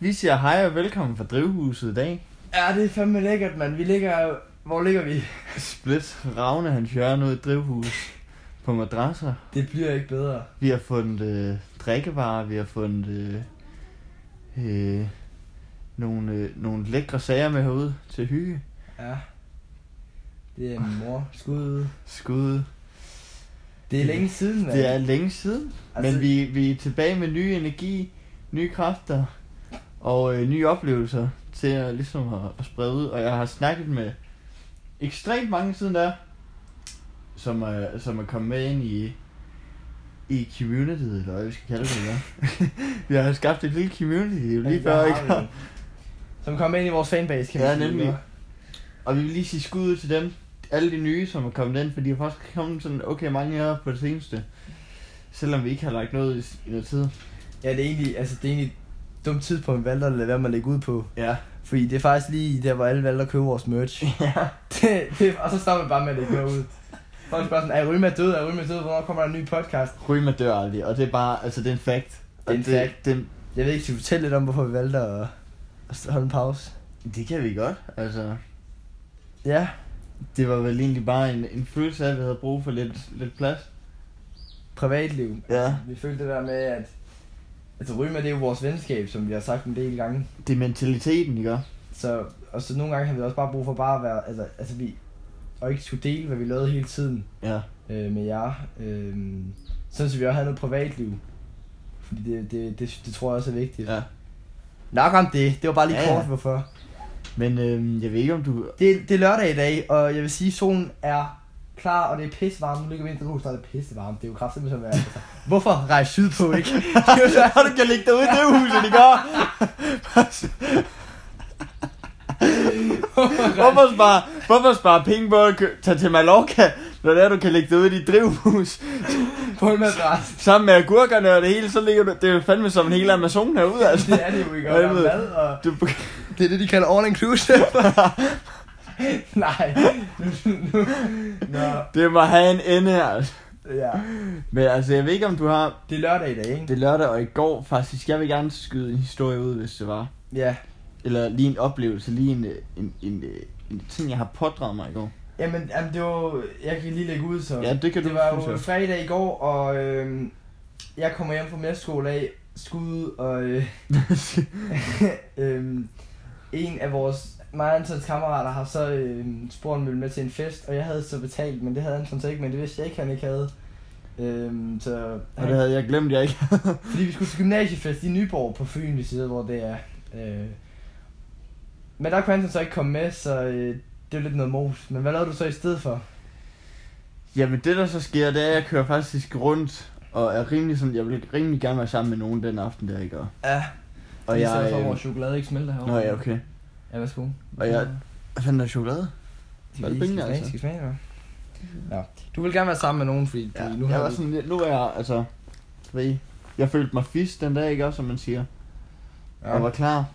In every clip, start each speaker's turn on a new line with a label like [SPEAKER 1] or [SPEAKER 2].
[SPEAKER 1] Vi siger hej og velkommen fra drivhuset i dag.
[SPEAKER 2] Ja, det er fandme lækkert, mand. Vi ligger... Hvor ligger vi?
[SPEAKER 1] Split Ravne hans hjørne ud i et drivhus på madrasser.
[SPEAKER 2] Det bliver ikke bedre.
[SPEAKER 1] Vi har fundet øh, drikkevarer, vi har fundet øh, øh, nogle, øh, nogle lækre sager med herude til hygge.
[SPEAKER 2] Ja. Det er min mor. Skud.
[SPEAKER 1] Skud.
[SPEAKER 2] Det er længe siden, mand.
[SPEAKER 1] Det er længe siden,
[SPEAKER 2] Altså-
[SPEAKER 1] men vi, vi er tilbage med nye energi, nye kræfter og øh, nye oplevelser til at, ligesom at, at sprede ud. Og jeg har snakket med ekstremt mange siden der, som er, som er kommet med ind i, i communityet, eller hvad vi skal kalde det. Eller? vi har skabt et lille community, det er jo lige
[SPEAKER 2] Der
[SPEAKER 1] før,
[SPEAKER 2] har vi
[SPEAKER 1] ikke?
[SPEAKER 2] den. Som kommer ind i vores fanbase, kan
[SPEAKER 1] Ja,
[SPEAKER 2] man sige,
[SPEAKER 1] nemlig.
[SPEAKER 2] ikke?
[SPEAKER 1] Og vi vil lige sige skud ud til dem, alle de nye, som er kommet ind, fordi der er faktisk kommet sådan okay mange her på det seneste. Selvom vi ikke har lagt noget i, i noget tid.
[SPEAKER 2] Ja, det er egentlig, altså, det er egentlig et dumt tidspunkt, vi valgte at lade være med at lægge ud på.
[SPEAKER 1] Ja.
[SPEAKER 2] Fordi det er faktisk lige der, hvor alle valgte at købe vores merch.
[SPEAKER 1] ja.
[SPEAKER 2] det, det, og så stopper vi bare med at lægge noget ud. Folk spørger sådan, er Ryma død? Er Ryma død? Hvornår kommer der en ny podcast?
[SPEAKER 1] Ryma dør aldrig, og det er bare, altså det er en fact. Og
[SPEAKER 2] Det er en fact.
[SPEAKER 1] Det,
[SPEAKER 2] Jeg ved ikke, skal vi fortælle lidt om, hvorfor vi valgte at, at holde en pause?
[SPEAKER 1] det kan vi godt, altså.
[SPEAKER 2] Ja,
[SPEAKER 1] Det var vel egentlig bare en, en følelse af, at vi havde brug for lidt, lidt plads.
[SPEAKER 2] privatliv. Altså,
[SPEAKER 1] Ja.
[SPEAKER 2] Vi følte det der med, at altså, Ryma, det er jo vores venskab, som vi har sagt en del gange.
[SPEAKER 1] Det er mentaliteten, ikke?
[SPEAKER 2] Så, og så nogle gange har vi også bare brug for bare at være, altså, altså vi, og ikke skulle dele, hvad vi lavede hele tiden
[SPEAKER 1] Ja.
[SPEAKER 2] øh, med jer. Øh, sådan, så vi også havde noget privatliv. Fordi det, det, det, det tror jeg også er vigtigt.
[SPEAKER 1] Ja.
[SPEAKER 2] Nok om det. Det var bare lige
[SPEAKER 1] Ja,
[SPEAKER 2] ja,
[SPEAKER 1] ja.
[SPEAKER 2] kort, hvorfor.
[SPEAKER 1] Men øhm, jeg ved ikke, om du...
[SPEAKER 2] Det, det er lørdag i dag, og jeg vil sige, at solen er klar, og det er pissevarmt. Nu ligger vi ind til hus, der er pissevarmt. Det er jo kraftigt, som er. Altså. Hvorfor rejse sydpå, ikke? Det er jo så-
[SPEAKER 1] du kan ligge derude i det huset, ikke? hvorfor spare, hvorfor spare penge på at kø- tage til Mallorca, når det er, du kan ligge derude i dit drivhus?
[SPEAKER 2] På en madras.
[SPEAKER 1] Sammen med agurkerne og det hele, så ligger du... Det er jo fandme som en hel Amazon herude, altså.
[SPEAKER 2] Det er det jo ikke, og
[SPEAKER 1] Ja,
[SPEAKER 2] der
[SPEAKER 1] jeg ved.
[SPEAKER 2] er mad, og...
[SPEAKER 1] Du,
[SPEAKER 2] Det er det, de kalder all inclusive. Nej. Nå,
[SPEAKER 1] det må have en ende, altså.
[SPEAKER 2] ja.
[SPEAKER 1] Men altså, jeg ved ikke, om du har...
[SPEAKER 2] Det er lørdag i dag, ikke?
[SPEAKER 1] Det er lørdag og i går faktisk. Jeg vil gerne skyde en historie ud, hvis det var.
[SPEAKER 2] Ja.
[SPEAKER 1] Eller lige en oplevelse, lige en, øh, en, en, øh, en ting, jeg har pådraget mig i går.
[SPEAKER 2] Jamen, jamen, det var... Jeg kan lige lægge ud, så...
[SPEAKER 1] Ja, det kan du
[SPEAKER 2] det var
[SPEAKER 1] synes
[SPEAKER 2] jo
[SPEAKER 1] jeg.
[SPEAKER 2] fredag i går, og øhm, jeg kommer hjem fra mesterskole af skud, og øh, øhm, en af vores, mig og Antons kammerater har så øhm, spurgt, om vi ville med til en fest, og jeg havde så betalt, men det havde Anton så ikke, men det vidste jeg ikke, han ikke havde. Øhm, så
[SPEAKER 1] og det havde jeg glemt, jeg ikke havde.
[SPEAKER 2] fordi vi skulle til gymnasiefest i Nyborg på Fyn, vi sidder, hvor det er. Øh. Men der kunne Anton så ikke komme med, så øh, det var lidt noget mos. Men hvad lavede du så i stedet for?
[SPEAKER 1] Jamen det der så sker, det er, at jeg kører faktisk rundt og er rimelig sådan, jeg vil rimelig gerne være sammen med nogen den aften der, ikke? Og,
[SPEAKER 2] Ja,
[SPEAKER 1] og jeg...
[SPEAKER 3] for,
[SPEAKER 1] Øh,
[SPEAKER 3] at vores chokolade ikke smelter herovre.
[SPEAKER 1] nå ja, okay.
[SPEAKER 3] Ja, værsgo.
[SPEAKER 1] Og jeg- Hvad fanden er chokolade?
[SPEAKER 2] De
[SPEAKER 1] Var det
[SPEAKER 2] lige
[SPEAKER 1] pengene,
[SPEAKER 2] skal smage,
[SPEAKER 1] altså?
[SPEAKER 2] skal smage, eller? hvad? Nå. Du vil gerne være sammen med nogen, fordi
[SPEAKER 1] Ja,
[SPEAKER 2] ja, nu
[SPEAKER 1] jeg
[SPEAKER 2] har
[SPEAKER 1] var
[SPEAKER 2] du-
[SPEAKER 1] sådan, lidt- nu er jeg, altså, du ved, jeg følte mig fisk den dag, ikke også, som man siger, ja. og var klar.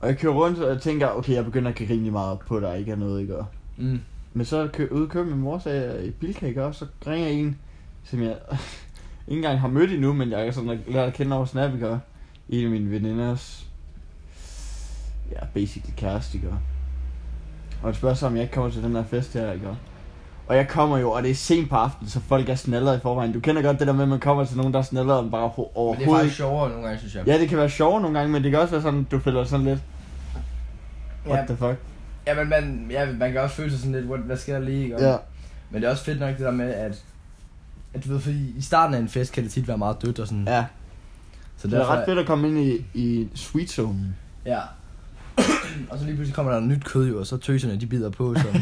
[SPEAKER 1] Og jeg kører rundt, og jeg tænker, okay, jeg begynder at give rimelig meget op på, at der ikke er noget, ikke? Og-
[SPEAKER 2] Mm.
[SPEAKER 1] Men så kø, ude kører min mor, så er jeg i Bilka, ikke også, så ringer en, som jeg ikke engang har mødt endnu, men jeg er sådan lært at kende over Snap, ikke? Og En af mine veninders, ja, basically kæreste, ikke? Og- Og han spørger så, om jeg ikke kommer til den her fest her, ikke? Og- Og jeg kommer jo, og det er sent på aftenen, så folk er snallere i forvejen. Du kender godt det der med, at man kommer til nogen, der er snallere end bare ho-
[SPEAKER 2] Men det er
[SPEAKER 1] overhovedet.
[SPEAKER 2] faktisk sjovere nogle gange, synes jeg.
[SPEAKER 1] Ja, det kan være sjovt nogle gange, men det kan også være sådan, du føler sådan lidt, what
[SPEAKER 2] ja,
[SPEAKER 1] the fuck?
[SPEAKER 2] ja, men man, ja, man kan også føle sig sådan lidt, what, hvad sker der lige? Ikke?
[SPEAKER 1] Ja,
[SPEAKER 2] Men det er også fedt nok det der med, at, at du ved, fordi i starten af en fest kan det tit være meget dødt og sådan.
[SPEAKER 1] ja.
[SPEAKER 2] så
[SPEAKER 1] Så det er Mm. ret fedt at komme ind i, i sweet zone.
[SPEAKER 2] Ja. og så lige pludselig kommer der noget nyt kød jo, og så tøserne de bider på.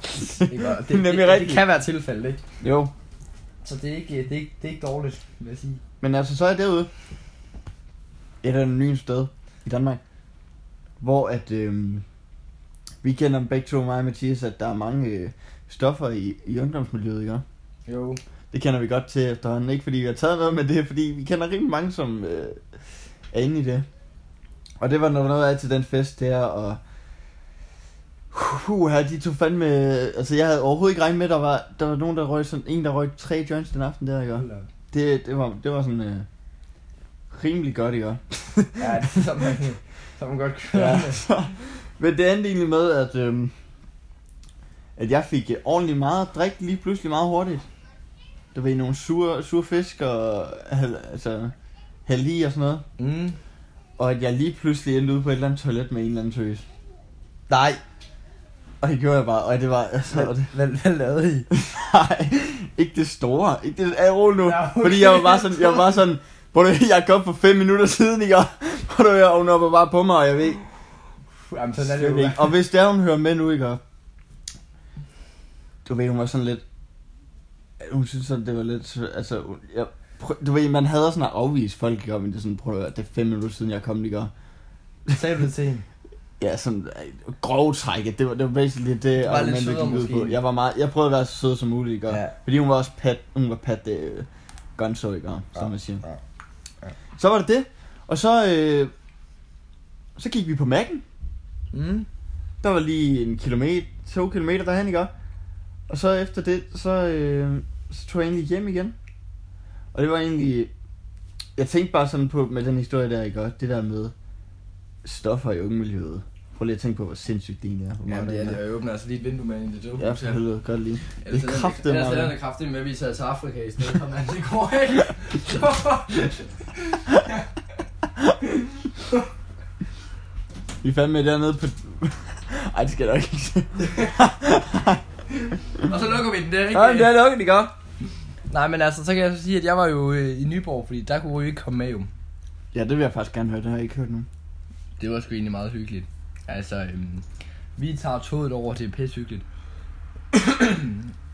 [SPEAKER 2] Som, ikke? Og det, det,
[SPEAKER 1] Nemlig
[SPEAKER 2] det, det,
[SPEAKER 1] rigtigt.
[SPEAKER 2] kan være tilfældet, ikke?
[SPEAKER 1] Jo,
[SPEAKER 2] Så det er ikke, det er ikke, det er ikke dårligt, vil jeg sige.
[SPEAKER 1] Men altså, så er jeg derude. Et anonymt sted i Danmark. Hvor at, øh, vi kender begge to, mig og Mathias, at der er mange øh, stoffer i, i ungdomsmiljøet, ikke?
[SPEAKER 2] Jo.
[SPEAKER 1] Det kender vi godt til efterhånden. Ikke fordi vi har taget noget, men det er fordi, vi kender rimelig mange, som øh, er inde i det. Og det var noget, noget af til den fest der, og... Uh, de tog fandme... Altså, jeg havde overhovedet ikke regnet med, at der var, der var nogen, der røg sådan... En, der røg tre joints den aften der, ikke?
[SPEAKER 2] Hold da op.
[SPEAKER 1] Det, det, var, det var sådan øh, rimelig godt, ikke?
[SPEAKER 2] Ja, det er sådan, man, sådan man godt kan ja.
[SPEAKER 1] ja. så- Men det endte egentlig med, at, øhm, at jeg fik øh, ordentlig meget drik lige pludselig meget hurtigt. Der var nogle sure, sure fisk og hal- altså, hali og sådan noget.
[SPEAKER 2] Mm.
[SPEAKER 1] Og at jeg lige pludselig endte ude på et eller andet toilet med en eller anden tøs. Nej. Og det gjorde jeg bare, og det var altså... og
[SPEAKER 2] Hvad,
[SPEAKER 1] det,
[SPEAKER 2] hvad, hvad lavede I?
[SPEAKER 1] nej, ikke det store. Ikke det, er rolig nu.
[SPEAKER 2] Ja, okay.
[SPEAKER 1] Fordi jeg var bare sådan, jeg var bare sådan, hvor du, jeg kom for fem minutter siden, ikke? Og hvor du, jeg, og hun var bare på mig, og jeg ved,
[SPEAKER 2] Jamen, sådan er det
[SPEAKER 1] Slet
[SPEAKER 2] jo.
[SPEAKER 1] ikke. Og hvis det er, hun hører med nu, ikke? og- Du ved, hun var sådan lidt... Hun synes sådan, det var lidt... Altså, hun- jeg, prøv, du ved, man hader sådan at afvise folk, ikke? og- Men det er sådan, prøv at høre, det er fem minutter siden, jeg kom, ikke? og-
[SPEAKER 2] Sagde du det til hende?
[SPEAKER 1] Ja, sådan øh, grovtrækket. Det var, det var basically det,
[SPEAKER 2] var lidt
[SPEAKER 1] argumentet
[SPEAKER 2] sødere
[SPEAKER 1] gik ud
[SPEAKER 2] måske.
[SPEAKER 1] på. Jeg, var meget, jeg prøvede at være så sød som muligt, ikke? og-
[SPEAKER 2] Ja.
[SPEAKER 1] Fordi hun var også pat, hun var pat øh, gonzo, ikke? og- Som
[SPEAKER 2] Ja,
[SPEAKER 1] man siger.
[SPEAKER 2] ja, ja.
[SPEAKER 1] Så var det det. Og så... Øh, så gik vi på Mac'en.
[SPEAKER 2] Mm.
[SPEAKER 1] Der var lige en kilometer, to kilometer derhen, ikke? Og så efter det, så, øh, så tog jeg egentlig hjem igen. Og det var egentlig... Jeg tænkte bare sådan på, med den historie der, ikke? Det der med stoffer i ungemiljøet. Prøv lige at tænke på, hvor sindssygt det egentlig er. Hvor
[SPEAKER 2] Jamen,
[SPEAKER 1] meget
[SPEAKER 2] det er
[SPEAKER 1] der
[SPEAKER 2] det. Jeg åbner altså lige et vindue med ind i det. Altså,
[SPEAKER 1] Ja, for helvede, godt lige.
[SPEAKER 3] Ellers
[SPEAKER 1] Det er
[SPEAKER 3] er
[SPEAKER 1] kraftedeme
[SPEAKER 3] kraftigt, ellers
[SPEAKER 1] meget.
[SPEAKER 3] er det kraftigt med, at vi tager til Afrika i stedet for, mand. Det går ikke.
[SPEAKER 1] Vi er fandme dernede på... Ej, det skal jeg nok ikke sige.
[SPEAKER 3] og så lukker vi den der, ikke?
[SPEAKER 2] Nej, det er lukket, ikke også? Nej, men altså, så kan jeg så sige, at jeg var jo øh, i Nyborg, fordi der kunne vi jo ikke komme med jo.
[SPEAKER 1] Ja, det vil jeg faktisk gerne høre. Det har jeg ikke hørt nu.
[SPEAKER 3] Det var sgu egentlig meget hyggeligt. Altså, øhm,
[SPEAKER 2] Vi tager toget over, det er pissehyggeligt.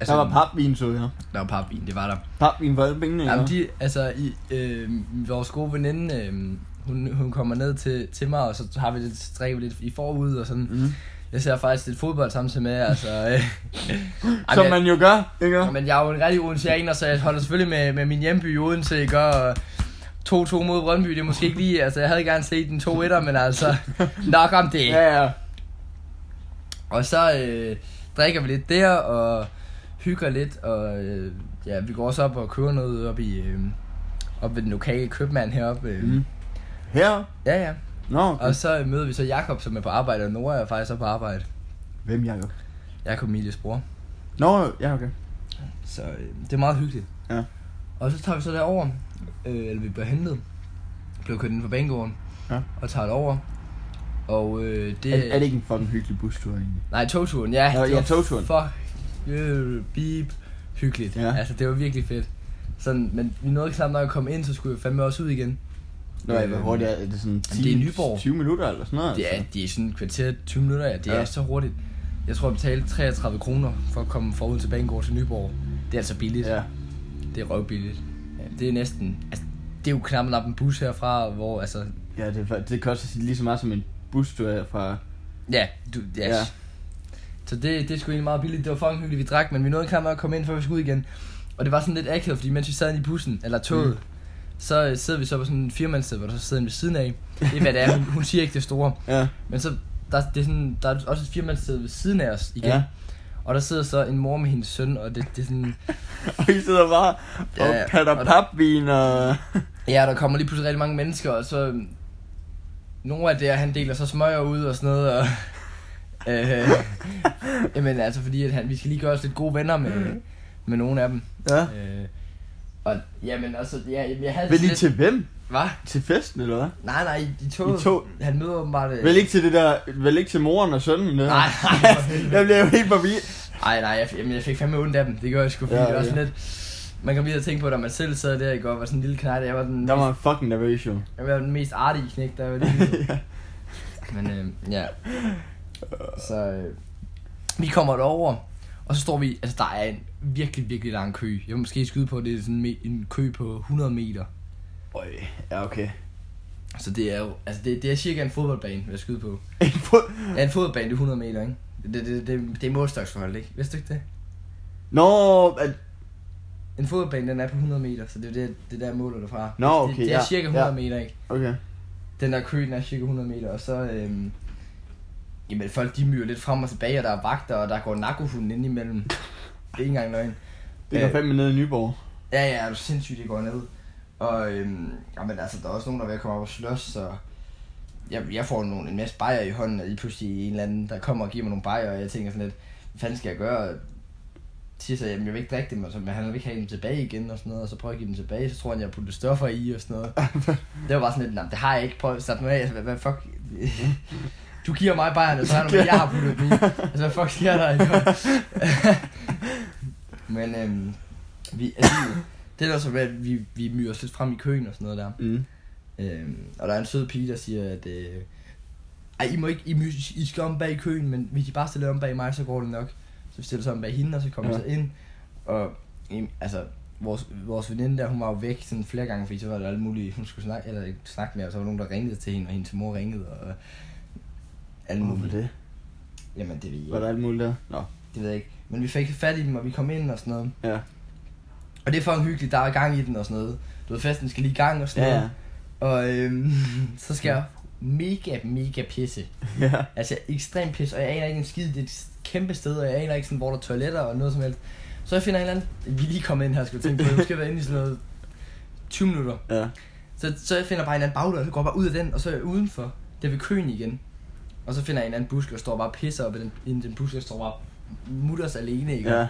[SPEAKER 1] Altså, der var papvin, så jeg.
[SPEAKER 3] Der var papvin, det var der.
[SPEAKER 1] Papvin for alle pengene, ikke?
[SPEAKER 2] Jamen, de, altså, i, øh, vores gode veninde, øh, hun, hun kommer ned til, til mig, og så har vi lidt, drikker vi lidt i forud og sådan.
[SPEAKER 1] Mm.
[SPEAKER 2] Jeg ser faktisk lidt fodbold samtidig med, altså. Øh, Ej,
[SPEAKER 1] Som
[SPEAKER 2] men-
[SPEAKER 1] man jo gør, ikke?
[SPEAKER 2] Ja, Men jeg er jo en rigtig odenseaner, så jeg holder selvfølgelig med, med min hjemby i Odense, ikke? Og 2-2 mod Brøndby, det er måske ikke lige... Altså, jeg havde gerne set den 2-1'er, men altså... Nok om det.
[SPEAKER 1] Ja, ja.
[SPEAKER 2] Og så øh, drikker vi lidt der, og hygger lidt, og øh, ja, vi går også op og køber noget op i... Øh, op ved den lokale købmand heroppe. Øh.
[SPEAKER 1] Mm. Her?
[SPEAKER 2] Ja, ja.
[SPEAKER 1] Nå, okay.
[SPEAKER 2] Og så øh, møder vi så Jakob som er på arbejde, og Nora er faktisk også på arbejde.
[SPEAKER 1] Hvem, Jacob?
[SPEAKER 2] Jakob Milies bror.
[SPEAKER 1] Nå, ja, okay.
[SPEAKER 2] Så øh, det er meget hyggeligt.
[SPEAKER 1] Ja.
[SPEAKER 2] Og så tager vi så derover, øh, eller vi bliver hentet, bliver kørt ind på banegården,
[SPEAKER 1] Ja.
[SPEAKER 2] og tager derover. Og øh, det...
[SPEAKER 1] Er, er det ikke en fucking hyggelig bustur egentlig?
[SPEAKER 2] Nej, togturen, ja.
[SPEAKER 1] Nå,
[SPEAKER 2] det
[SPEAKER 1] ja,
[SPEAKER 2] var
[SPEAKER 1] togturen.
[SPEAKER 2] Fuck, øh, beep, hyggeligt.
[SPEAKER 1] Ja.
[SPEAKER 2] Altså, det var virkelig fedt. Sådan, men vi nåede ikke sammen, når jeg kom ind, så skulle jeg fandme også ud igen.
[SPEAKER 1] Nå, jeg ved,
[SPEAKER 2] Øhm,
[SPEAKER 1] hurtigt er er det sådan 10,
[SPEAKER 2] det er Nyborg.
[SPEAKER 1] 20 minutter eller sådan noget?
[SPEAKER 2] Det er,
[SPEAKER 1] altså?
[SPEAKER 2] det er sådan et kvarter, 20 minutter, ja. Det
[SPEAKER 1] Ja.
[SPEAKER 2] er så hurtigt. Jeg tror, jeg betalte 33 kroner for at komme forud til Banegård til Nyborg. Det er altså billigt.
[SPEAKER 1] Ja.
[SPEAKER 2] Det er røvbilligt. Ja, det er næsten... Altså, det er jo knap nok en bus herfra, hvor altså...
[SPEAKER 1] Ja, det, er fa- det koster sig lige så meget som en bustur her fra...
[SPEAKER 2] Ja, du, yes.
[SPEAKER 1] Ja.
[SPEAKER 2] ja. Så det, det er sgu egentlig meget billigt. Det var fucking hyggeligt, vi drak, men vi nåede knap nok at komme ind, før vi skulle ud igen. Og det var sådan lidt akavet, fordi mens vi sad inde i bussen, eller toget,
[SPEAKER 1] Mm.
[SPEAKER 2] mm. så øh, sidder vi så på sådan en firmandssted, hvor der så sidder en ved siden af. Det er hvad det er, hun, hun siger ikke det store.
[SPEAKER 1] Ja.
[SPEAKER 2] Men så, der, det er sådan, der er også et firmandssted ved siden af os igen.
[SPEAKER 1] Ja.
[SPEAKER 2] Ja. Og der sidder så en mor med hendes søn, og det, det er sådan...
[SPEAKER 1] Og I sidder bare og
[SPEAKER 2] Ja, ja.
[SPEAKER 1] patter
[SPEAKER 2] Og der-
[SPEAKER 1] papvin og...
[SPEAKER 2] Ja, der kommer lige pludselig rigtig mange mennesker, og så... øhm, Nogle af der, han deler så smøger ud og sådan noget, og... Øh, jamen altså, fordi at han, vi skal lige gøre os lidt gode venner med,
[SPEAKER 1] Mm.
[SPEAKER 2] med nogle af dem.
[SPEAKER 1] Ja.
[SPEAKER 2] Øh, og jamen altså, ja, jamen, jeg havde
[SPEAKER 1] Vil
[SPEAKER 2] sådan
[SPEAKER 1] I til hvem?
[SPEAKER 2] Hvad?
[SPEAKER 1] Til festen, eller hvad?
[SPEAKER 2] Nej, nej, i toget.
[SPEAKER 1] I tog-
[SPEAKER 2] Han møder åbenbart... Øh,
[SPEAKER 1] Vel ikke til det der... Vel ikke til moren og sønnen? Det?
[SPEAKER 2] Nej, nej, for helvede.
[SPEAKER 1] Jeg bliver jo helt forbi.
[SPEAKER 2] Ej, nej, jeg, jamen, jeg fik fandme ondt af dem. Det gør jeg sgu, fordi
[SPEAKER 1] Ja,
[SPEAKER 2] ja, det var
[SPEAKER 1] ja.
[SPEAKER 2] sådan lidt... Man kan lige at tænke på, da man selv sad der i går, og var sådan en lille knægt, jeg var den,
[SPEAKER 1] Der var jeg fucking nervøs, jo.
[SPEAKER 2] jeg var den mest artige knægt, der var lige...
[SPEAKER 1] ja.
[SPEAKER 2] Men øh, ja. Så øh, vi kommer derover, og så står vi, altså der er en virkelig, virkelig lang kø. Jeg vil måske skyde på, at det er sådan me- en kø på 100 meter.
[SPEAKER 1] Øj, ja, okay.
[SPEAKER 2] Så det er jo, altså det, det er cirka en fodboldbane, vil jeg skyde på.
[SPEAKER 1] En fod...
[SPEAKER 2] Ja, en fodboldbane, det er 100 meter, ikke? Det, det, det, det er målstoksforhold, ikke? Vidste du ikke det?
[SPEAKER 1] Nå, at-
[SPEAKER 2] En fodboldbane, den er på 100 meter, så det er det, det der måler du fra.
[SPEAKER 1] Nå, okay,
[SPEAKER 2] det, det er
[SPEAKER 1] ja,
[SPEAKER 2] cirka 100
[SPEAKER 1] ja.
[SPEAKER 2] meter, ikke?
[SPEAKER 1] okay.
[SPEAKER 2] Den der kø, den er cirka 100 meter, og så... Øhm, jamen, folk de myrer lidt frem og tilbage, og der er vagter, og der går narkohunden ind imellem. Det er ikke engang løgn.
[SPEAKER 1] Det går
[SPEAKER 2] Øh.
[SPEAKER 1] fandme ned i Nyborg.
[SPEAKER 2] Ja, ja, er du sindssygt, det går ned. Og øhm, jamen, altså, der er også nogen, der er ved at komme op og slås, så jeg, jeg får nogle, en masse bajer i hånden, og lige pludselig en eller anden, der kommer og giver mig nogle bajer, og jeg tænker sådan lidt, hvad fanden skal jeg gøre? Og siger så, jamen jeg vil ikke drikke dem, og så, men han vil ikke have dem tilbage igen, og sådan noget, og så prøver jeg at give dem tilbage, så tror han, jeg har puttet stoffer i, og sådan noget. det var bare sådan lidt, nej, det har jeg ikke, prøv at starte nu af, altså, hvad, hvad fuck? du giver mig bajerne, og så har du, jeg har puttet dem i. Altså, hvad fuck sker der? ikke? men øhm, vi, altså, det er da så, hvad vi, vi myrer os lidt frem i køen og sådan noget der.
[SPEAKER 1] Mm.
[SPEAKER 2] Øhm, og der er en sød pige, der siger, at... Øh, ej, I, må ikke, I, må- I skal om bag køen, men hvis I bare stiller om bag mig, så går det nok. Så vi stiller så om bag hende, og så kommer vi
[SPEAKER 1] Ja.
[SPEAKER 2] så ind. Og em, altså, vores, vores veninde der, hun var jo væk sådan flere gange, fordi så var der alt muligt, hun skulle snakke, eller ikke snakke med, og så var der nogen, der ringede til hende, og hendes mor ringede, og øh, alt
[SPEAKER 1] Hvorfor
[SPEAKER 2] muligt.
[SPEAKER 1] det?
[SPEAKER 2] Jamen, det ved jeg
[SPEAKER 1] Var
[SPEAKER 2] ikke.
[SPEAKER 1] der alt muligt der? Nå.
[SPEAKER 2] Det ved jeg ikke. Men vi fik fat i dem, og vi kom ind og sådan noget.
[SPEAKER 1] Ja.
[SPEAKER 2] Og det er fucking hyggeligt, der er gang i den og sådan noget. Du ved, festen skal lige i gang og sådan
[SPEAKER 1] Ja,
[SPEAKER 2] noget.
[SPEAKER 1] ja.
[SPEAKER 2] Og øhm, så skal jeg mega, mega pisse.
[SPEAKER 1] Ja.
[SPEAKER 2] Altså ekstrem pisse, og jeg aner ikke en skid. Det er et kæmpe sted, og jeg aner ikke, sådan, hvor der er toiletter og noget som helst. Så jeg finder en eller anden... Vi er lige kommet ind her, skulle jeg tænke på. Vi skal være inde i sådan noget 20 minutter.
[SPEAKER 1] Ja.
[SPEAKER 2] Så, så jeg finder bare en eller anden bagdør, og så går jeg bare ud af den, og så er jeg udenfor. Det er ved køen igen. Og så finder jeg en eller anden busk, og står bare og pisser op i den, inden den busk, og står bare mutters alene, ikke?
[SPEAKER 1] Ja.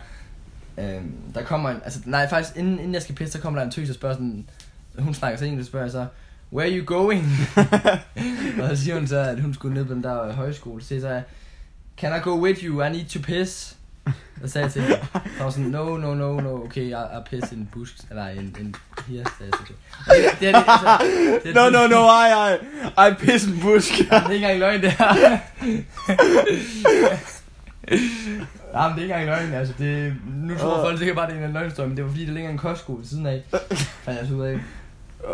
[SPEAKER 2] Øhm, der kommer en, altså nej faktisk, inden, inden jeg skal pisse, så kommer der en tøs og spørger sådan, hun snakker så engelsk, og spørger jeg så, where are you going? og så siger hun så, at hun skulle ned på den der højskole, så siger jeg, så, can I go with you, I need to piss. Og så sagde jeg til hende, og hun var sådan, no, no, no, no, okay, I, I piss in busk, eller en, en her, sagde jeg så til. Og Det, det, er- det, er- altså, det,
[SPEAKER 1] No,
[SPEAKER 2] er-
[SPEAKER 1] no, no, ej, ej. Ej, pisse en busk.
[SPEAKER 2] det er ikke engang løgn, det her. Nej, men det er ikke engang løgn, altså. Det, nu tror
[SPEAKER 1] Åh.
[SPEAKER 2] folk sikkert bare, det er en eller anden løgnstøj, men det var fordi, der ligger en kostsko ved siden af. Fandt jeg så ud af.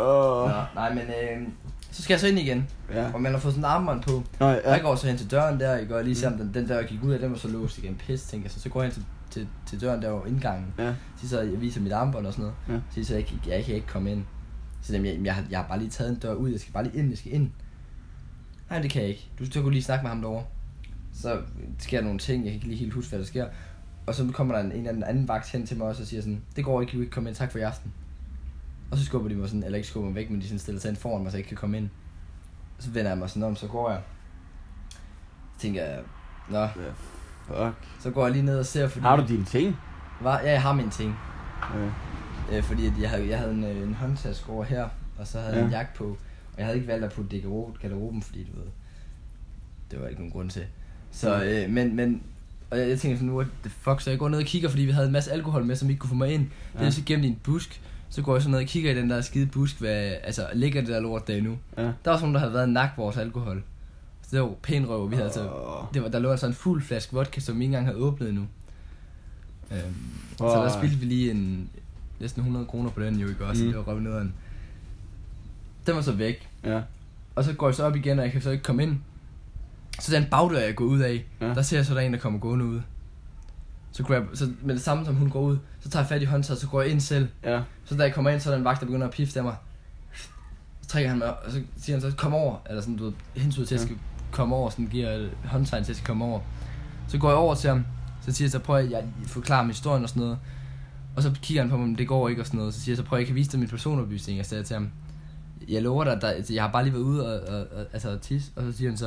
[SPEAKER 1] Åh.
[SPEAKER 2] Nå, nej, men øh, så skal jeg så ind igen,
[SPEAKER 1] Ja.
[SPEAKER 2] og man har fået sådan en armbånd på.
[SPEAKER 1] Nå,
[SPEAKER 2] Og jeg
[SPEAKER 1] ja. Mm.
[SPEAKER 2] går så hen til døren der, ikke? og lige ser, om den, den dør, jeg gik ud af, den var så låst igen. Pis, tænker jeg så. Så går jeg hen til, til, til døren der over indgangen.
[SPEAKER 1] Ja.
[SPEAKER 2] Så siger jeg, jeg viser mit armbånd og sådan noget.
[SPEAKER 1] Ja.
[SPEAKER 2] Så siger jeg, så, jeg, kan- jeg kan ikke komme ind. Så siger jeg, "Jamen, jeg, jeg, har, jeg har bare lige taget en dør ud, jeg skal bare lige ind, jeg skal ind. Nej, det kan jeg ikke. Du, du kunne lige snakke med ham derovre. Så sker der nogle ting, jeg kan ikke lige helt huske, hvad der sker. Og så kommer der en, en eller anden, anden vagt hen til mig også og siger sådan, det går ikke, du kan ikke komme ind, tak for i aften. Og så skubber de mig sådan, eller ikke skubber mig væk, men de sådan stiller sig ind foran mig, så jeg ikke kan komme ind. Så vender jeg mig sådan om, så går jeg. Så tænker jeg, nå,
[SPEAKER 1] Fuck.
[SPEAKER 2] så går jeg lige ned og ser, fordi...
[SPEAKER 1] Har du dine ting?
[SPEAKER 2] Var, ja, jeg har mine ting.
[SPEAKER 1] Øh,
[SPEAKER 2] Øh, fordi at jeg havde, jeg havde en, øh, en håndtaske over her, og så havde jeg en
[SPEAKER 1] Ja.
[SPEAKER 2] jakke på. Og jeg havde ikke valgt at putte det i garderoben- garderoben, fordi du ved, det var ikke nogen grund til.
[SPEAKER 1] Mm.
[SPEAKER 2] Så, øh, men, men, og jeg, jeg tænkte sådan, what the fuck, så jeg går ned og kigger, fordi vi havde en masse alkohol med, som vi ikke kunne få mig ind. Ja. Det
[SPEAKER 1] Ja.
[SPEAKER 2] er så gennem en busk, så går jeg så ned og kigger i den der skide busk, hvad, altså ligger det der lort der endnu.
[SPEAKER 1] Ja.
[SPEAKER 2] Der var sådan nogen, der havde været nak vores alkohol. Så det var pæn røv, vi havde altså,
[SPEAKER 1] Åh.
[SPEAKER 2] det var, der lå altså en fuld flaske vodka, som vi ikke engang havde åbnet endnu. Øhm, så
[SPEAKER 1] Fuck.
[SPEAKER 2] der spildte vi lige en, næsten 100 kroner på den jo ikke også,
[SPEAKER 1] Mm.
[SPEAKER 2] mm. det var røvnederen. Den var så væk,
[SPEAKER 1] Ja.
[SPEAKER 2] og så går jeg så op igen, og jeg kan så ikke komme ind. Så den bagdør, jeg går ud af,
[SPEAKER 1] Ja.
[SPEAKER 2] ja. der ser jeg så, der er en, der kommer gående ud. Så, grab, så med det samme, som hun går ud, så tager jeg fat i håndtaget, så går jeg ind selv.
[SPEAKER 1] Ja.
[SPEAKER 2] Så da jeg kommer ind, så er der en vagt, der begynder at pifte af mig. Så trækker han mig op, og så siger han så, kom over. Eller sådan, du ved, hensyn til, at jeg skal komme over. Sådan giver jeg et håndtegn til, at jeg skal komme over. Så går jeg over til ham. Så siger jeg så, prøv at jeg forklarer mig historien og sådan noget. Og så kigger han på mig, men det går ikke og sådan noget. Så siger jeg så, prøv at jeg kan vise dig min personoplysning. Og så sagde jeg til ham, jeg lover dig, der, altså, jeg har bare lige været ude og, og, og altså, og tisse. Og så siger han så,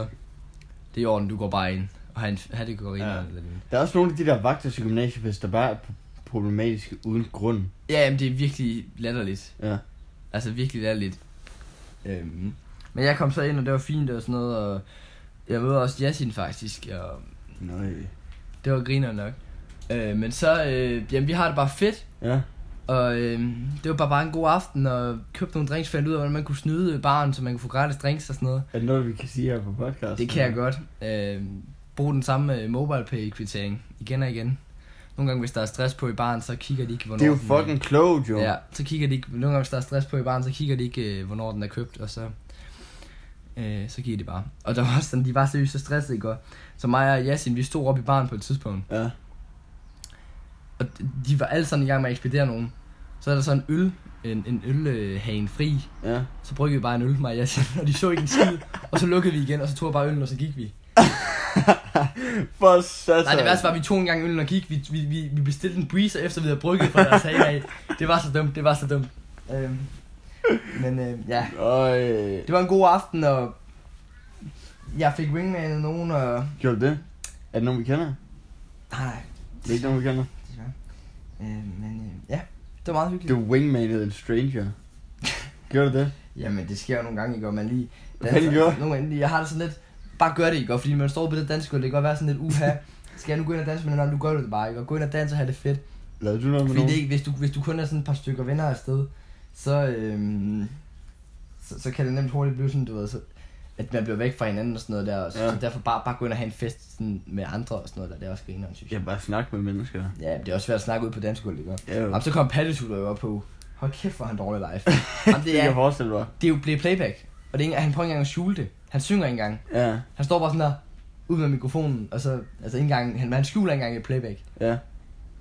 [SPEAKER 2] det er i orden, du går bare ind. Og han, han det går ind.
[SPEAKER 1] Ja.
[SPEAKER 2] Ja. Eller, eller.
[SPEAKER 1] Der er også nogle af de der vagter til gymnasiefest, der bare er p- problematiske uden grund.
[SPEAKER 2] Ja, jamen, det er virkelig latterligt.
[SPEAKER 1] Ja.
[SPEAKER 2] Altså virkelig er lidt. Øhm. Men jeg kom så ind, og det var fint og sådan noget, og jeg mødte også Yasin faktisk, og
[SPEAKER 1] Nøj.
[SPEAKER 2] det var griner nok. Øh, men så, øh, jamen vi har det bare fedt,
[SPEAKER 1] Ja.
[SPEAKER 2] og øh, det var bare, bare en god aften, og købte nogle drinks, fandt ud af, hvordan man kunne snyde baren, så man kunne få gratis drinks og sådan noget.
[SPEAKER 1] Er det noget, vi kan sige her på podcasten?
[SPEAKER 2] Det kan jeg godt. Øh, brug den samme øh, MobilePay-kvittering igen og igen. Nogle gange, hvis der er stress på i baren, så kigger de ikke, hvornår
[SPEAKER 1] Det er jo
[SPEAKER 2] den
[SPEAKER 1] fucking klogt, jo.
[SPEAKER 2] Ja, så kigger de ikke, nogle gange hvis der er stress på i baren, så kigger de ikke, øh, hvornår den er købt, og så, øh, så giver de bare. Og der var også sådan, de var seriøst så stressede, ikke? Og Så mig og Yasin, vi stod op i baren på et tidspunkt,
[SPEAKER 1] Ja.
[SPEAKER 2] og d- de var alle sammen i gang med at ekspedere nogen. Så er der så en øl, en, en øl øh, hagen fri,
[SPEAKER 1] Ja.
[SPEAKER 2] så bryggede vi bare en øl, mig og Yasin, og de så ikke en skid, og så lukkede vi igen, og så tog jeg bare øllen, og så gik vi.
[SPEAKER 1] For satan.
[SPEAKER 2] Nej, det værste var, at vi tog engang øllen og gik. Vi, vi, vi, vi bestilte en breezer, efter vi havde brygget fra deres have af. Det var så dumt, det var så dumt. Øhm, Men øh, ja,
[SPEAKER 1] Og øh,
[SPEAKER 2] det var en god aften, og jeg fik wingmanet nogen, og...
[SPEAKER 1] gjorde du det? Er det nogen, vi kender?
[SPEAKER 2] Nej,
[SPEAKER 1] Det er ikke nogen, vi kender.
[SPEAKER 2] desværre. Øh, men øh, ja, det var meget hyggeligt.
[SPEAKER 1] Du wingmanede en stranger. Gjorde du det?
[SPEAKER 2] Jamen, det sker jo nogle gange, ikke? Og man lige... Altså,
[SPEAKER 1] Hvad fanden gjorde?
[SPEAKER 2] Nogle gange, lige- jeg har det sådan lidt... Bare gør det, ikke? Og fordi man står på det dansk, det kan godt være sådan lidt uha. Skal jeg nu gå ind og danse med den anden? Du gør det bare, ikke? Og gå ind og danse og have det fedt.
[SPEAKER 1] Lavede du noget med
[SPEAKER 2] Fordi det er
[SPEAKER 1] nogen?
[SPEAKER 2] ikke, hvis, du, hvis du kun er sådan et par stykker venner afsted, så, øhm, så, så kan det nemt hurtigt blive sådan, du ved, så, at man bliver væk fra hinanden og sådan noget der. Og så,
[SPEAKER 1] Ja.
[SPEAKER 2] ja. så derfor bare, bare gå ind og have en fest sådan, med andre og sådan noget der. Det er også grineren, synes jeg.
[SPEAKER 1] Jeg bare snakke med mennesker.
[SPEAKER 2] Ja, men det er også svært at snakke ud på dansk gulv, ikke?
[SPEAKER 1] Ja, jo.
[SPEAKER 2] Jamen, så kom Pattesutter jo op på. Hold kæft, hvor er han dårlig live. Jamen,
[SPEAKER 1] Det
[SPEAKER 2] det,
[SPEAKER 1] kan jeg
[SPEAKER 2] er,
[SPEAKER 1] forestille mig.
[SPEAKER 2] det er jo blevet playback. Og det er ikke, han prøver ikke engang at skjule det. Han synger ikke engang.
[SPEAKER 1] Ja,
[SPEAKER 2] Han står bare sådan der, ud med mikrofonen, og så, altså ikke engang, han, han skjuler ikke engang et playback.
[SPEAKER 1] ja.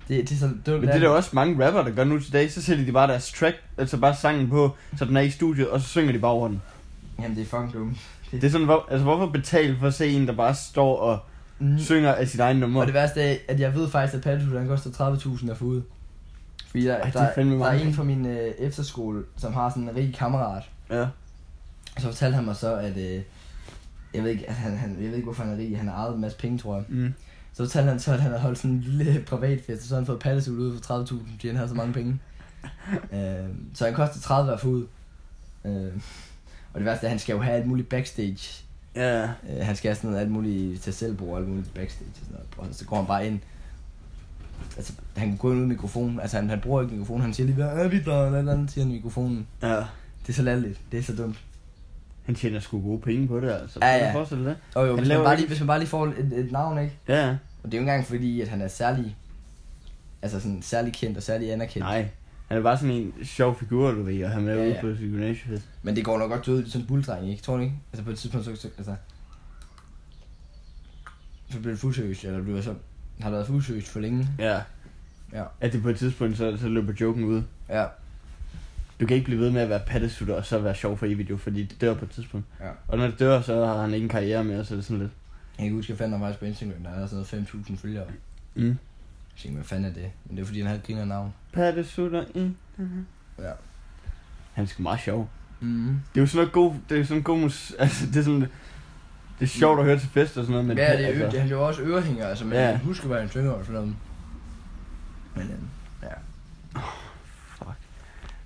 [SPEAKER 2] Det, det er så dumt.
[SPEAKER 1] Men det er der jo også mange rapper, der gør nu til dag, så sætter de bare deres track, altså bare sangen på, så den er i studiet, og så synger de bare over den.
[SPEAKER 2] Jamen, det er fucking dumt.
[SPEAKER 1] Det er sådan, hvor, altså hvorfor betale for at se en, der bare står og
[SPEAKER 2] Mm.
[SPEAKER 1] synger af sit egen nummer?
[SPEAKER 2] Og det værste er, at jeg ved faktisk, at Pattesutter, han koster 30.000 at få ud. Fordi der,
[SPEAKER 1] Ej, det er
[SPEAKER 2] der, er
[SPEAKER 1] fandme
[SPEAKER 2] der er
[SPEAKER 1] meget.
[SPEAKER 2] en fra min øh, efterskole, som har sådan en rig kammerat,
[SPEAKER 1] Ja.
[SPEAKER 2] Og så fortalte han mig så, at... Øh, jeg ved ikke, at han, han, jeg ved ikke, hvorfor han er rig. Han har ejet en masse penge, tror jeg.
[SPEAKER 1] Mm.
[SPEAKER 2] Så fortalte han så, at han havde holdt sådan en lille privatfest, og så havde han fået pattesugl ud for 30.000, fordi han havde så mange penge. øh, så han kostede 30 at få ud. Øh, og det værste er, at han skal jo have alt muligt backstage.
[SPEAKER 1] Ja.
[SPEAKER 2] Øh, han skal have sådan noget alt muligt til selvbrug og alt muligt backstage og sådan noget. Og så går han bare ind. Altså, han kunne gå ind uden mikrofon. Altså, han, han bruger ikke mikrofonen. Han siger lige, hvad er vi der? Eller andet, siger han i mikrofonen.
[SPEAKER 1] Ja.
[SPEAKER 2] Det er så latterligt. Det er så dumt.
[SPEAKER 1] Han tjener sgu gode penge på det, altså.
[SPEAKER 2] Ja,
[SPEAKER 1] Kan
[SPEAKER 2] ja.
[SPEAKER 1] du forestille dig det?
[SPEAKER 2] Og jo,
[SPEAKER 1] Han
[SPEAKER 2] Altså, hvis man,
[SPEAKER 1] laver
[SPEAKER 2] bare
[SPEAKER 1] ikke-
[SPEAKER 2] lige, hvis man bare lige får et, et navn, ikke?
[SPEAKER 1] Ja, ja.
[SPEAKER 2] Og det er jo ikke engang fordi, at han er særlig, altså sådan særlig kendt og særlig anerkendt.
[SPEAKER 1] Nej. Han er bare sådan en sjov figur, du ved, og han er
[SPEAKER 2] Ja,
[SPEAKER 1] ja, ude
[SPEAKER 2] ja.
[SPEAKER 1] på sin gymnasiefest.
[SPEAKER 2] Men det går nok godt død, sådan en bulldreng, ikke? Tror du ikke? Altså på et tidspunkt, så, så altså... Så bliver det fuldseriøst, eller bliver så... Har det været fuldseriøst for længe?
[SPEAKER 1] Ja.
[SPEAKER 2] Ja.
[SPEAKER 1] At det på et tidspunkt, så, så løber joken ud.
[SPEAKER 2] Ja.
[SPEAKER 1] Du kan ikke blive ved med at være pattesutter og så være sjov for evigt, jo, fordi det dør på et tidspunkt.
[SPEAKER 2] Ja.
[SPEAKER 1] Og når det dør, så har han ingen karriere mere, så er det sådan lidt.
[SPEAKER 2] Jeg kan huske, jeg fandt ham faktisk på Instagram, der havde sådan noget 5.000 følgere. Jeg
[SPEAKER 1] Mm.
[SPEAKER 2] tænkte, hvad fanden er det? Men det er fordi, han havde et griner navn.
[SPEAKER 1] Pattesutter, mm. mhm.
[SPEAKER 2] Ja.
[SPEAKER 1] Han er sgu meget sjov.
[SPEAKER 2] Mm.
[SPEAKER 1] Det er jo sådan noget god, det er sådan en god mus, altså det er sådan, det er sjovt at høre til fest og sådan noget, men
[SPEAKER 2] Men ja, det er
[SPEAKER 1] altså,
[SPEAKER 2] altså... han er jo også ørehænger, altså, men
[SPEAKER 1] Ja.
[SPEAKER 2] ja. jeg husker, hvad han synger og sådan noget. Men øhm,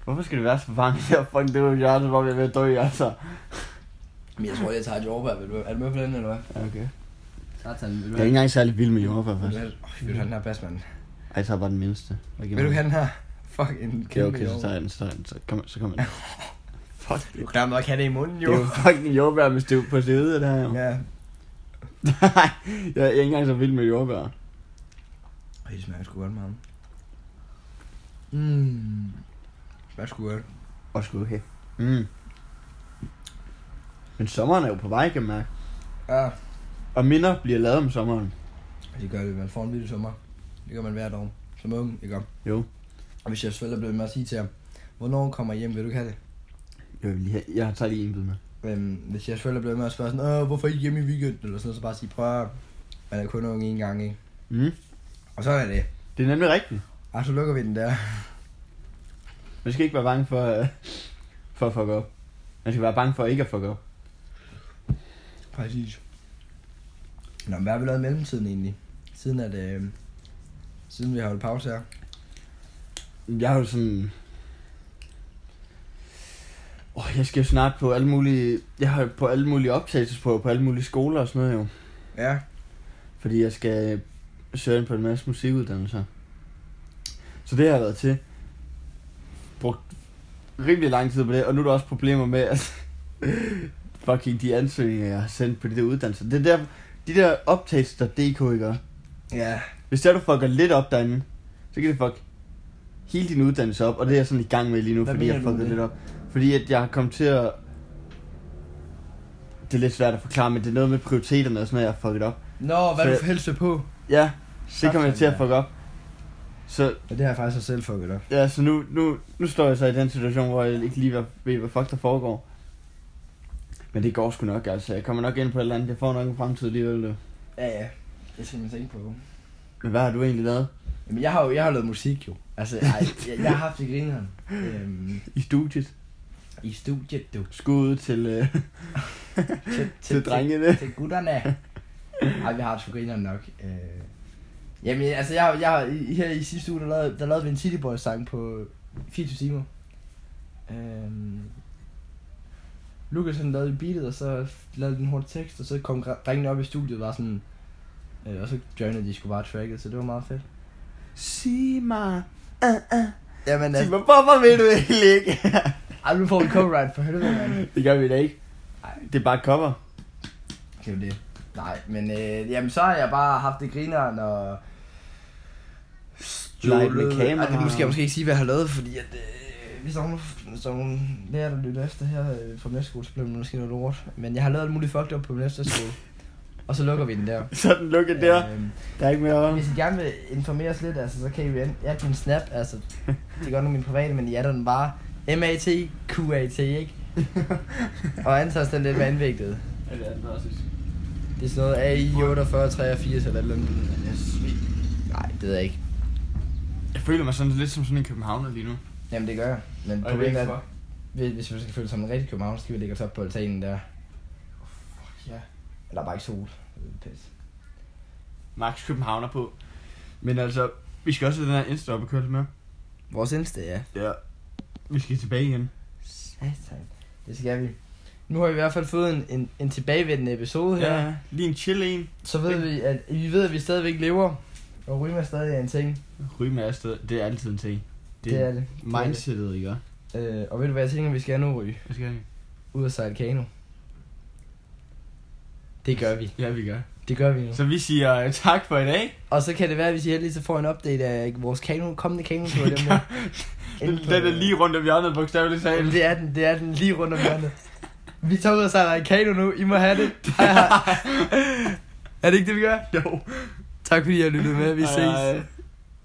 [SPEAKER 1] Hvorfor skal det være så varmt? Jeg fucking det er jo jeg, så var jeg ved at dø, altså.
[SPEAKER 2] men jeg tror, jeg tager et jordbær. Vil du- Er du med på den, eller hvad?
[SPEAKER 1] Ja, okay.
[SPEAKER 2] Satan, vil du
[SPEAKER 1] Jeg er ikke engang særlig vild med jordbær,
[SPEAKER 2] Vil du
[SPEAKER 1] faktisk.
[SPEAKER 2] have- Åh, vil du have den her basmand?
[SPEAKER 1] Ej, så er bare den mindste. Hvad giver
[SPEAKER 2] Vil du
[SPEAKER 1] man?
[SPEAKER 2] have den her? Fuck, en
[SPEAKER 1] Okay,
[SPEAKER 2] kæmpe
[SPEAKER 1] okay, så
[SPEAKER 2] jord.
[SPEAKER 1] tager jeg den, så tager jeg den, så kom, så kom jeg. Fuck,
[SPEAKER 2] Du
[SPEAKER 1] det
[SPEAKER 2] kan da nok have det i munden,
[SPEAKER 1] det
[SPEAKER 2] jo.
[SPEAKER 1] er jo fucking jordbær med stiv på stedet, det her. jo.
[SPEAKER 2] Ja.
[SPEAKER 1] Nej, jeg er ikke engang så vild med jordbær.
[SPEAKER 2] Og det smager sgu godt, mand. Mm. Hvad sgu godt.
[SPEAKER 1] Og sgu okay. Mm. Men sommeren er jo på vej, kan man mærke.
[SPEAKER 2] Ja,
[SPEAKER 1] Og minder bliver lavet om sommeren.
[SPEAKER 2] Ah, det gør det. Man får en vild sommer. Det gør man hvert år. Som ung, ikke om.
[SPEAKER 1] Jo.
[SPEAKER 2] Og hvis jeg selvfølgelig blev med at sige til ham, hvornår kommer I hjem, vil du ikke have det?
[SPEAKER 1] Jeg, vil lige have, jeg tager lige en bid med.
[SPEAKER 2] Øhm, hvis jeg selvfølgelig blev med at spørge sådan, Åh, hvorfor er I hjemme i weekenden? Eller sådan noget, så bare sige, prøv at man er kun ung en gang, ikke?
[SPEAKER 1] Mm.
[SPEAKER 2] Og sådan er det.
[SPEAKER 1] Det er nemlig rigtigt.
[SPEAKER 2] Og så lukker vi den der.
[SPEAKER 1] Man skal ikke være bange for, øh, for at fuck op. Man skal være bange for ikke at fuck op.
[SPEAKER 2] Præcis. Nå, men hvad har vi lavet i mellemtiden egentlig? Siden at, øh, siden vi har holdt pause her.
[SPEAKER 1] Jeg har jo sådan... Oh, jeg skal jo snart på alle mulige... Jeg har jo på alle mulige optagelsesprøver på alle mulige skoler og sådan noget jo.
[SPEAKER 2] Ja.
[SPEAKER 1] Fordi jeg skal søge ind på en masse musikuddannelser. Så det har jeg været til. Brugt rimelig lang tid på det, og nu er der også problemer med, at fucking de ansøgninger, jeg har sendt på de der uddannelser. Det er der, de der optagelser, DK ikke også?
[SPEAKER 2] Ja.
[SPEAKER 1] Hvis der du fucker lidt op derinde, så kan det fuck hele din uddannelse op, og det er jeg sådan i gang med lige nu,
[SPEAKER 2] Hvad
[SPEAKER 1] Hvad fordi
[SPEAKER 2] mener
[SPEAKER 1] jeg
[SPEAKER 2] du med
[SPEAKER 1] fucker lidt
[SPEAKER 2] det?
[SPEAKER 1] op. Fordi at jeg har kommet til at... Det er lidt svært at forklare, men det er noget med prioriteterne og sådan noget, jeg har fucket op.
[SPEAKER 2] Nå, hvad
[SPEAKER 1] Så-
[SPEAKER 2] du helst vil på?
[SPEAKER 1] Ja, det
[SPEAKER 2] Sådan
[SPEAKER 1] kommer jeg til at
[SPEAKER 2] der.
[SPEAKER 1] fuck op. Så,
[SPEAKER 2] Ja, det har jeg faktisk også selv fucket op.
[SPEAKER 1] ja, så nu, nu, nu står jeg så i den situation, hvor jeg ikke lige ved- ved, hvad fuck der foregår. Men det går sgu nok, altså. Jeg kommer nok ind på et eller andet. Jeg får nok en fremtid alligevel. du.
[SPEAKER 2] Ja, ja. Det skal man tænke på.
[SPEAKER 1] Men hvad har du egentlig lavet?
[SPEAKER 2] Jamen, jeg har jo jeg har lavet musik jo. Altså, ej, jeg, jeg har haft det grineren. Øhm,
[SPEAKER 1] I studiet?
[SPEAKER 2] I studiet, du.
[SPEAKER 1] Skud til, øh,
[SPEAKER 2] Til,
[SPEAKER 1] til drengene.
[SPEAKER 2] Til, til gutterne. Ej, vi har det sgu grineren nok. Øh. Jamen, altså, jeg, har- jeg, har- i- her i sidste uge, der lavede, der lavede vi en City Boys sang på 24 timer. Øh. Lukas han lavede beatet, og så lavede den hurtig tekst, og så kom gra- drengene op i studiet og var sådan... Øh, og så joinede de sgu bare tracket, så det var meget fedt.
[SPEAKER 1] Sig mig. Uh, uh.
[SPEAKER 2] Jamen,
[SPEAKER 1] Sig
[SPEAKER 2] altså,
[SPEAKER 1] mig, hvorfor vil du egentlig ikke?
[SPEAKER 2] ej, nu får vi copyright for helvede, mand.
[SPEAKER 1] det gør vi da ikke.
[SPEAKER 2] Ej.
[SPEAKER 1] Det er bare et cover.
[SPEAKER 2] Det er jo det. Nej, men øh, jamen, så har jeg bare haft det grineren og...
[SPEAKER 1] Leget med
[SPEAKER 2] Stjålet-
[SPEAKER 1] kamera.
[SPEAKER 2] Ej, det måske jeg måske ikke sige, hvad jeg har lavet, fordi at... Øh, hvis der er nogen, hvis der er nogen lærer, der lytter efter her øh, fra min efterskole, så bliver det måske noget lort. Men jeg har lavet alt muligt fucked up på min efterskole. og så lukker vi den der.
[SPEAKER 1] Sådan lukket der.
[SPEAKER 2] Øhm,
[SPEAKER 1] Der er ikke mere om.
[SPEAKER 2] hvis I gerne vil informere os lidt, altså, så kan I jo enten- jeg kan en snap, altså, det er godt nok min private, men I er der den bare. M-A-T-Q-A-T, ikke? Og antager den lidt vanvigtet. Det er sådan noget AI 48, 83 eller et eller andet. Nej, det ved jeg ikke.
[SPEAKER 1] Jeg føler mig sådan lidt som sådan en københavner lige nu.
[SPEAKER 2] Jamen det gør jeg. Men
[SPEAKER 1] Og jeg ved
[SPEAKER 2] problemet
[SPEAKER 1] ikke
[SPEAKER 2] er,
[SPEAKER 1] hvorfor.
[SPEAKER 2] hvis hvis vi skal føle som en rigtig københavn, så skal vi lægge os op på altanen der.
[SPEAKER 1] Ja.
[SPEAKER 2] Eller bare ikke sol. Det er Pis.
[SPEAKER 1] Max københavner på. Men altså, vi skal også have den her Insta op og køre lidt med.
[SPEAKER 2] Vores Insta, ja.
[SPEAKER 1] Ja. Vi skal tilbage igen.
[SPEAKER 2] Satan. Det skal vi. Nu har vi i hvert fald fået en, en, en tilbagevendende episode her.
[SPEAKER 1] Ja, lige en chill en.
[SPEAKER 2] Så ved vi, at vi ved, at vi stadigvæk lever. Og ryger stadig er en ting.
[SPEAKER 1] Ryg med afsted, det er altid en ting.
[SPEAKER 2] Det, det er det.
[SPEAKER 1] Mindsetet, I gør.
[SPEAKER 2] Øh, og ved du hvad jeg tænker, vi skal nu ryge?
[SPEAKER 1] Hvad skal vi?
[SPEAKER 2] Ud og sejle kano. Det gør vi.
[SPEAKER 1] Ja, vi gør.
[SPEAKER 2] Det gør vi nu.
[SPEAKER 1] Så vi siger øh, tak for i dag.
[SPEAKER 2] Og så kan det være, hvis I heldigvis får en update af vores kano, kommende kanotur. Den,
[SPEAKER 1] Den, den er lige rundt om hjørnet, bogstaveligt talt.
[SPEAKER 2] Det er den, det er den lige rundt om hjørnet. Vi tager ud og sejler i kano nu. I må have det. Hej, hej. er det ikke det, vi gør?
[SPEAKER 1] Jo.
[SPEAKER 2] Tak fordi I har lyttet med. Vi ses.
[SPEAKER 1] Hej, hej.